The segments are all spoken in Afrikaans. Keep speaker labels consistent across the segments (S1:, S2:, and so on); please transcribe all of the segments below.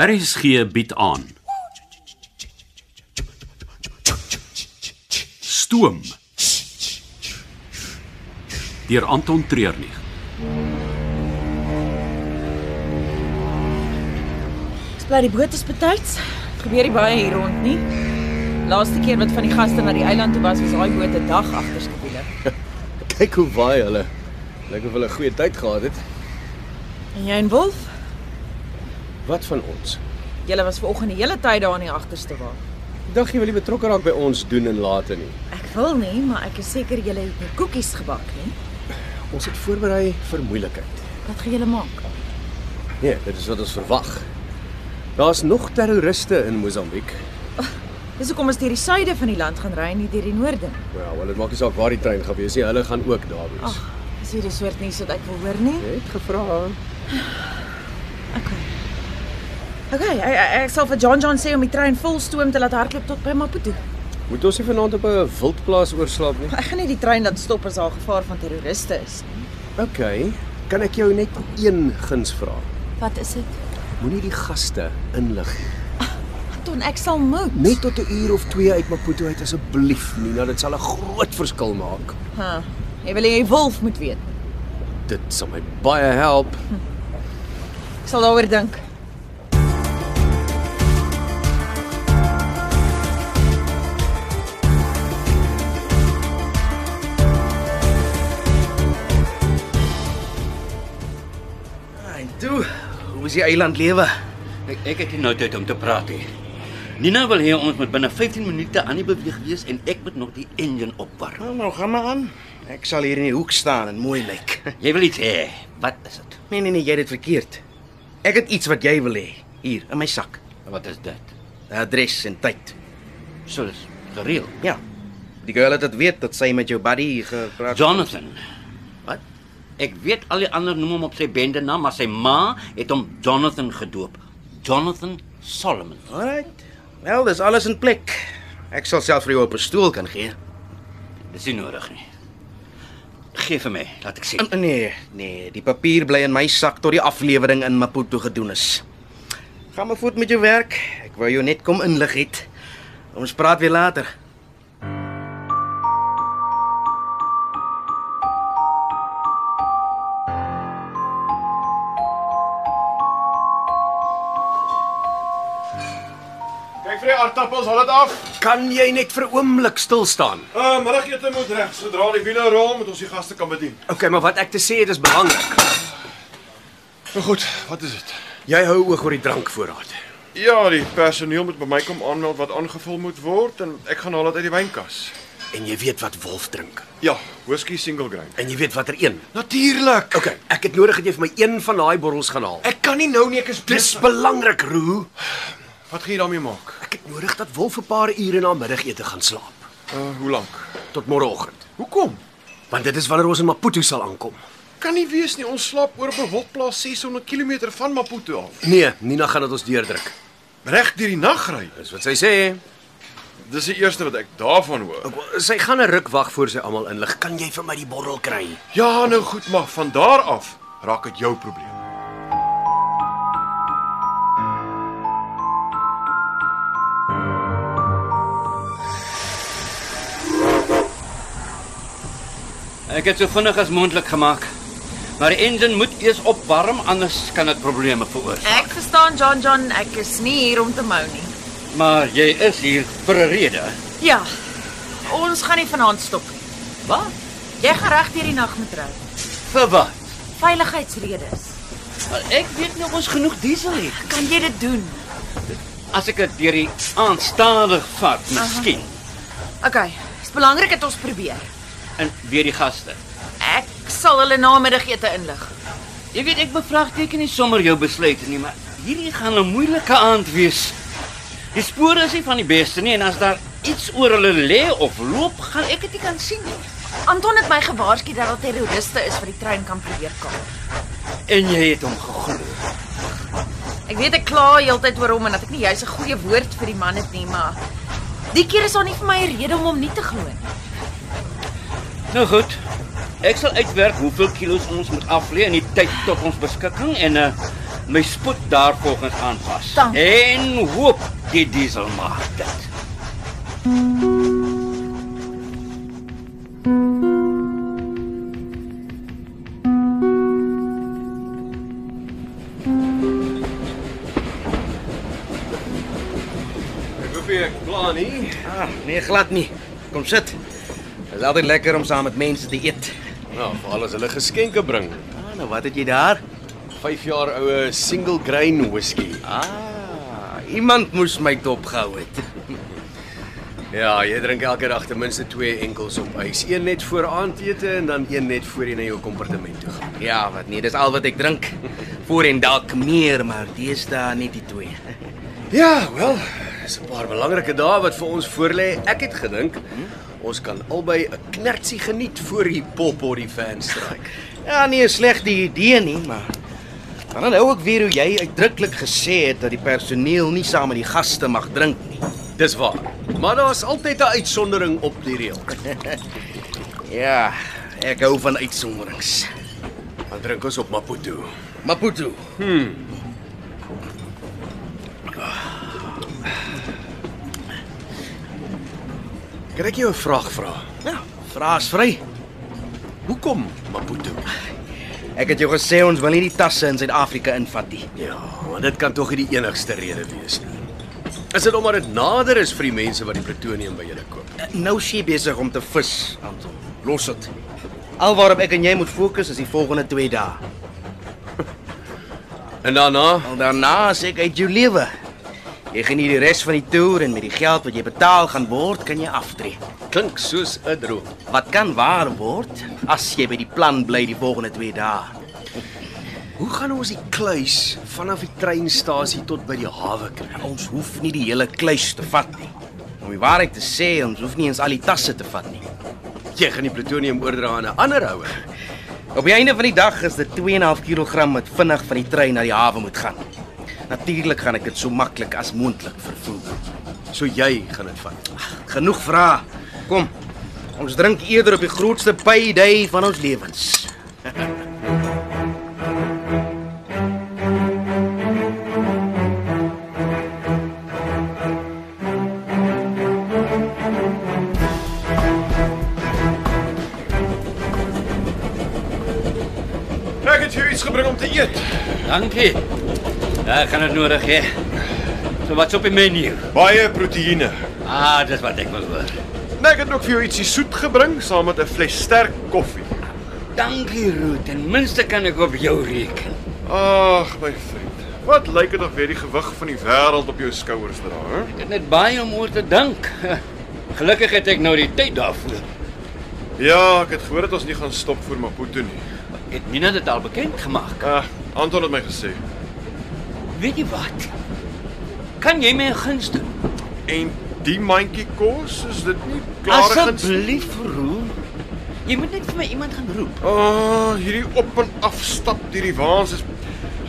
S1: RSG bied aan. Stoom. Deur Anton Treurnig.
S2: Bly die boot is betyds.
S3: Gebeur nie baie hier rond nie. Laaste keer wat van die gaste na die eiland toe was, was daai boot 'n dag agter skeduule.
S4: Kyk hoe waai hulle. Lyk of hulle 'n goeie tyd gehad het.
S2: En jy en Wolf?
S4: Wat van ons?
S3: Julle was vanoggend die hele tyd daar in die agterste wa.
S4: Dag jy wil nie betrokke raak by ons doen en late nie.
S2: Ek wil nie, maar ek is seker julle het nie koekies gebak nie.
S4: Ons het voorberei vir moeilikheid.
S2: Wat gaan julle maak?
S4: Nee, dit is wat ons verwag. Daar's nog terroriste in Mosambiek.
S3: Dis hoekom ons deur die suide van die land gaan ry en nie deur die noorde. nie.
S4: Ja, wel dit maak nie saak waar die trein gaan wees nie, hulle gaan ook daar wees.
S3: Ag, Dis hierdie soort nuus wat ek wil hoor nie.
S4: Jy het gevra.
S3: Okay, ek, ek, ek sal vir John John sê om die trein vol stoom te laat hardloop tot by Maputo.
S4: Moet ons nie vanaand op 'n wildplaas oorslaap nie?
S3: Ek gaan nie die trein laat stop as daar gevaar van terroriste is.
S4: OK. Kan ek jou net een guns vra?
S2: Wat is dit?
S4: Moenie die gaste inlig nie.
S3: Ton, ek sal moet.
S4: Net tot 'n uur of 2 uit Maputo uit asseblief, Nina, dit sal 'n groot verskil maak.
S3: Ha. Jy Ah, wil hê Wolf moet weet.
S4: Dit sal my baie help.
S3: Ek sal daaroor dink.
S5: En toe, hoe is die eiland lewe?
S1: Ek ek het nie nou tyd om te praat nie. Nina wil hê ons moet binne 15 minute aan die beweeg wees en ek moet nog die engine opwarm.
S5: Nou, nou gaan maar aan. Ek sal hier in die hoek staan en mooi lyk.
S1: Jy wil iets hê? Wat is dit?
S5: Nee nee nee, jy het dit verkeerd. Ek het iets wat jy wil hê hier in my sak.
S1: Wat is dit?
S5: 'n Adres en tyd.
S1: So is gereël.
S5: Ja. Die girl het dit weet dat sy met jou buddy gepraat
S1: Jonathan. Wat? Ek weet al die ander noem hom op sy bende naam, maar sy ma het hom Jonathan gedoop. Jonathan Solomon.
S5: Alrite. Wel, dis alles in plek. Ek sal self vir jou op 'n stoel kan gee.
S1: Dis nie nodig nie. Geef vir my, laat ek sien.
S5: En- en Nee, nee, die papier bly in my sak tot die aflewering in Maputo gedoen is. Gaan maar voort met jou werk. Ek wou jou net kom inlig het. Ons praat weer later.
S6: Kyk vir die aardappels, haal dit af.
S4: Kan jy net vir 'n oomblik stil staan?
S6: Uh, middagete moet reg. Sodra die wiele rol, moet ons die gaste kan bedien.
S4: Okay, maar wat ek te sê het is belangrik.
S6: Nou goed, wat is dit?
S4: Jy hou oog oor die drankvoorraad.
S6: Ja, die personeel moet by my kom aanmeld wat aangevul moet word en ek gaan haal dit uit die wynkas.
S4: En jy weet wat Wolf drink.
S6: Ja, whisky single grain.
S4: En jy weet watter een.
S6: Natuurlik.
S4: Okay, ek het nodig dat jy vir my een van daai bottels gaan haal.
S6: Ek kan nie nou nie, ek is
S4: Dis belangrik, Roo.
S6: Wat gaan jy daarmee maak?
S4: Ek het nodig dat Wolf 'n paar ure na middagete gaan slaap
S6: Uh, hoe lank?
S4: tot môreoggend,
S6: Hoekom?
S4: want dit is wanneer ons in Maputo sal aankom.
S6: Kan nie wees nie. Ons slaap oor op 'n wildplaas 600 km van Maputo af.
S4: Nee, Nina gaan dit ons deurdruk.
S6: Reg deur die nag ry.
S4: Dis wat sy sê.
S6: Dis die eerste wat ek daarvan hoor.
S4: Ek- Sy gaan 'n ruk wag voor sy almal inlig. Kan jy vir my die bottel kry?
S6: Ja, nou goed, maar van daar af raak dit jou probleem.
S1: Ek het so vinnig as moontlik gemaak. Maar die engine moet eers opwarm anders kan dit probleme veroorsaak.
S3: Ek verstaan John John, ek is nie hier om te mou nie.
S1: Maar jy is hier vir 'n rede.
S3: Ja. Ons gaan nie vanaand stop nie.
S1: Wat?
S3: Jy gaan reg deur die nag moet ry.
S1: Vir wat?
S3: Veiligheidsredes.
S1: Wel, Ek weet nie of ons genoeg diesel het.
S3: Kan jy dit doen?
S1: As ek dit deur die aand stadig vat, miskien.
S3: OK. Dis belangrik dat ons probeer.
S1: En weer die gaste.
S3: Ek sal hulle namiddagete inlig.
S1: Jy weet ek bevraagteken nie sommer jou besluite nie, maar hierdie gaan 'n moeilike aand wees. Die spore is nie van die beste nie en as daar iets oor hulle lê of loop, gaan ek dit nie kan sien nie.
S3: Anton het my gewaarsku dat daar terroriste is wat die trein kan probeer kaap.
S1: En jy het hom geglo.
S3: Ek weet ek kla heeltyd oor hom en dat ek nie jous 'n goeie woord vir die man het nie, maar die keer is daar nie vir my 'n rede om hom nie te glo nie.
S1: Nou goed. Ek sal uitwerk hoeveel kilos ons moet aflê in die tyd tot ons beskikking en uh my spoed daarvolgens aanpas.
S3: Dank.
S1: En hoop die diesel maak dit.
S6: Ek hoop jy klaar nie.
S5: Ah, nee glad nie. Kom sit. Dit is altyd lekker om saam met mense te eet.
S4: Nou, veral as hulle geskenke bring.
S5: Ah, nou wat het jy daar?
S4: 5 jaar oue single grain whisky.
S5: Ah, iemand moes my dopgehou het.
S4: Ja, jy drink elke dag ten minste twee enkels op ys. Een net voor aandete en dan een net voor jy na jou kompartement toe gaan.
S5: Ja, wat nee, dis al wat ek drink. Voorheen dalk meer, maar deesdae net die twee.
S4: Ja, wel, dis 'n paar belangrike dae wat vir ons voorlê. Ek het gedink ons kan albei 'n knertsie geniet voor die poppot die fans strike.
S5: Ja, nee, sleg die idee nie, maar maar dan hou ek weer hoe jy uitdruklik gesê het dat die personeel nie saam met die gaste mag drink nie.
S4: Dis waar. Maar daar's altyd 'n uitsondering op die reël.
S5: Ja, ek hou van uitsonderings.
S4: Dan drink ons op Maputo.
S5: Maputo.
S4: Kan ek jou 'n vraag vra?
S5: Ja, vraas vry.
S4: Hoekom Maputo?
S5: Ek het jou gesê ons wil nie die tasse in Suid-Afrika invat nie.
S4: Ja, want dit kan tog nie die enigste rede wees nie. Is dit omdat dit nader is vir die mense wat die plutonium by julle koop?
S5: Nou is jy besig om te vis, Anton. Los dit. Al waarop ek en jy moet fokus is die volgende 2 dae.
S4: En daarna
S5: Al daarna is ek uit jou lewe. Jy geniet die res van die toer en met die geld wat jy betaal gaan word, kan jy aftree.
S4: klink soos 'n droom.
S5: Wat kan waar word as jy by die plan bly die volgende 2 dae?
S4: Hoe gaan ons die kluis vanaf die treinstasie tot by die hawe kry?
S5: Ons hoef nie die hele kluis te vat nie. Om die waarheid te sê, ons hoef nie eens al die tasse te vat nie.
S4: Jy gaan die plutonium oordra aan 'n ander ouer.
S5: Op die einde van die dag is dit 2.5 kg wat vinnig van die trein na die hawe moet gaan. Natuurlik gaan ek dit so maklik as moontlik vervoer.
S4: So jy gaan dit vat.
S5: Genoeg vrae. Kom. Ons drink eerder op die grootste payday van ons lewens.
S6: Ek het jou iets gebring om te eet.
S1: Dankie. Ja, ek gaan dit nodig hê. So wat's op die menu?
S6: Baie proteïene.
S1: Ah, dis wat ek wil hoor.
S6: En ek het ook vir jou ietsie soet gebring saam met 'n fles sterk koffie.
S1: Dankie, Ruth. Ten minste kan ek op jou reken.
S6: Ag, my vriend. Wat lyk dit of weer die gewig van die wêreld op jou skouers dra, hè?
S1: Ek het net baie om oor te dink. Gelukkig het ek nou die tyd daarvoor.
S6: Ja, ek het gehoor dat ons nie gaan stop voor Maputo nie.
S1: Het Nina dit al bekend gemaak?
S6: Ag, Anton het my gesê.
S1: Weet jy wat? Kan jy my 'n guns doen?
S6: En die mandjie kos, is dit nie klaar
S1: Asseblief, Ruth. Jy moet net vir my iemand gaan roep.
S6: O, oh, hierdie op en af stap deur die waans is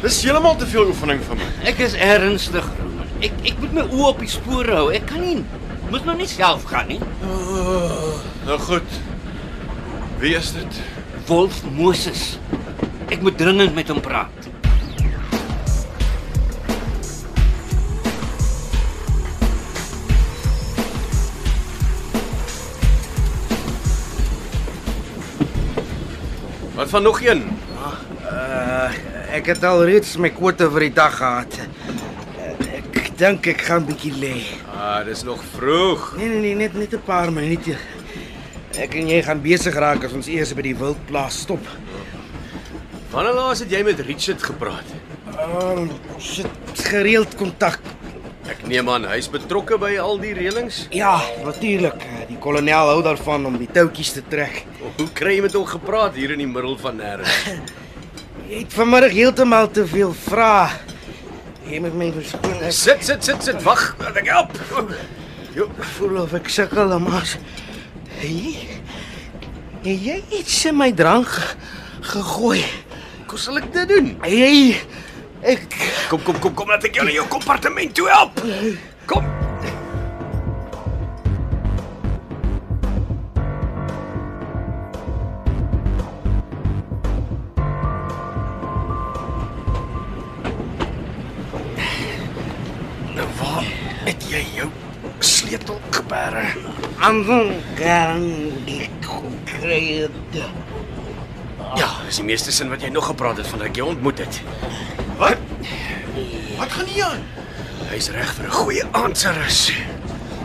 S6: dis heeltemal te veel oefening vir my.
S1: Ek is ernstig, Roman. Ek ek moet my oë op die spore hou. Ek kan nie moet nou nie self gaan nie.
S6: Nou goed. Wie is dit?
S1: Wolf Moses. Ek moet dringend met hom praat.
S4: Wat van nog een?
S5: Uh, ek het al reeds my kwota vir die dag gehad. Eh, Ek dink ek gaan bietjie lê.
S4: Ah, dis nog vroeg.
S5: Nee nee nee, net net 'n paar minute. Ek en jy gaan besig raak as ons eers by die wildplaas stop.
S4: Wanneer laas het jy met Richard gepraat?
S5: Ehm, ons het gereeld kontak.
S4: Ek neem aan hy's betrokke by al die reëlings.
S5: Ja, natuurlik. eh, Die kolonel hou daarvan om die touwtjies te trek.
S4: Hoe kry jy met hom gepraat hier in die middel van nêrens?
S5: Jy het vanmiddag heeltemal te veel vrae. Jy moet my verskoon. Ek
S4: Sit, sit, sit, sit. Wag, laat ek help. Jo,
S5: voel of ek sukkel om as Hey. Hey, jy het iets in my drank ge- gegooi.
S4: kom sal ek dit doen?
S5: Hey. Ek
S4: Kom, kom, kom, kom, laat ek jou na jou kompartement toe help. Kom. Nou waar het jy jou sleutel geberre?
S5: Anton kan die konkrete.
S4: Ja, dis die meeste sin wat jy nog gepraat het van ek jou ontmoet het.
S6: Wat? Wat gaan hier aan?
S4: Hy's reg vir 'n goeie aanserus.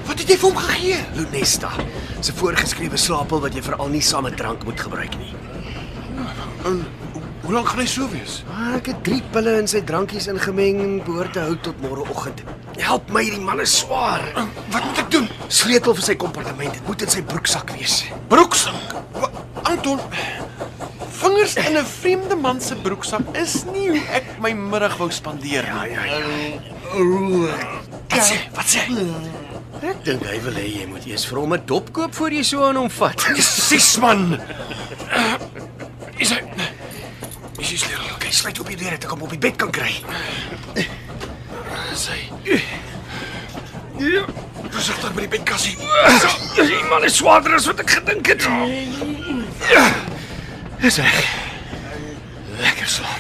S6: Wat het jy vir hom gegee?
S4: Lunesta, se voorgeskrewe slaapel wat jy veral nie saam met drank moet gebruik nie.
S6: En hoe lank gaan hy so wees?
S4: Maar ek het drie pille in sy drankies ingemeng en behoort te hou tot môreoggend. Help my, die man is swaar.
S6: Uh, Wat moet ek doen?
S4: Sleutel vir sy kompartement, dit moet in sy broeksak wees.
S6: Broeksak. Wa- Anton, vingers in 'n vreemde man se broeksak is nie hoe ek my middag wou spandeer nie.
S4: ja, ja.
S6: Wat sê? Wat sê?
S4: Ek dink hy wil hê jy moet eers vir hom 'n dop koop voor jy so aan hom vat.
S6: Sis man. Is hy
S4: Is jy sleur? Okay, sluit op die deur dat ek hom op die bed kan kry.
S6: sy? Versigtig by die bedkassie.
S4: So, die man is swaarder as wat ek gedink het. Ja.
S6: Is hy? Lekker slaap.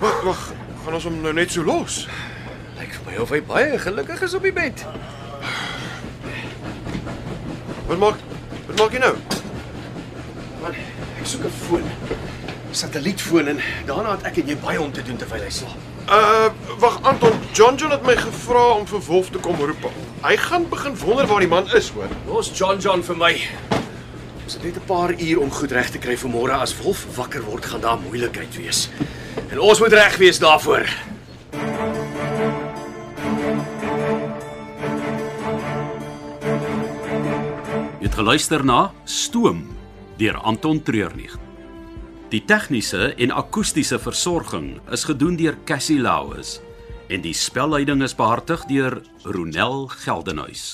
S6: Wag, wag, gaan ons hom nou net so los?
S4: Lyk vir my of hy baie gelukkig is op die bed.
S6: Wat maak? Wat maak jy nou?
S4: Ek soek 'n foon. Satellietfoon en daarna het ek en jy baie om te doen terwyl hy slaap.
S6: Uh, wag Anton, John John het my gevra om vir Wolf te kom roep. Hy gaan begin wonder waar die man is, hoor.
S4: Los John John vir my. Ons het net 'n paar uur om goed reg te kry vir môre as Wolf wakker word gaan daar moeilikheid wees. En ons moet reg wees daarvoor.
S7: Jy het geluister na Stoom deur Anton Treurnig. Die tegniese en akoestiese versorging is gedoen deur Cassie Lauis en die spelleiding is behartig deur Ronel Geldenhuys.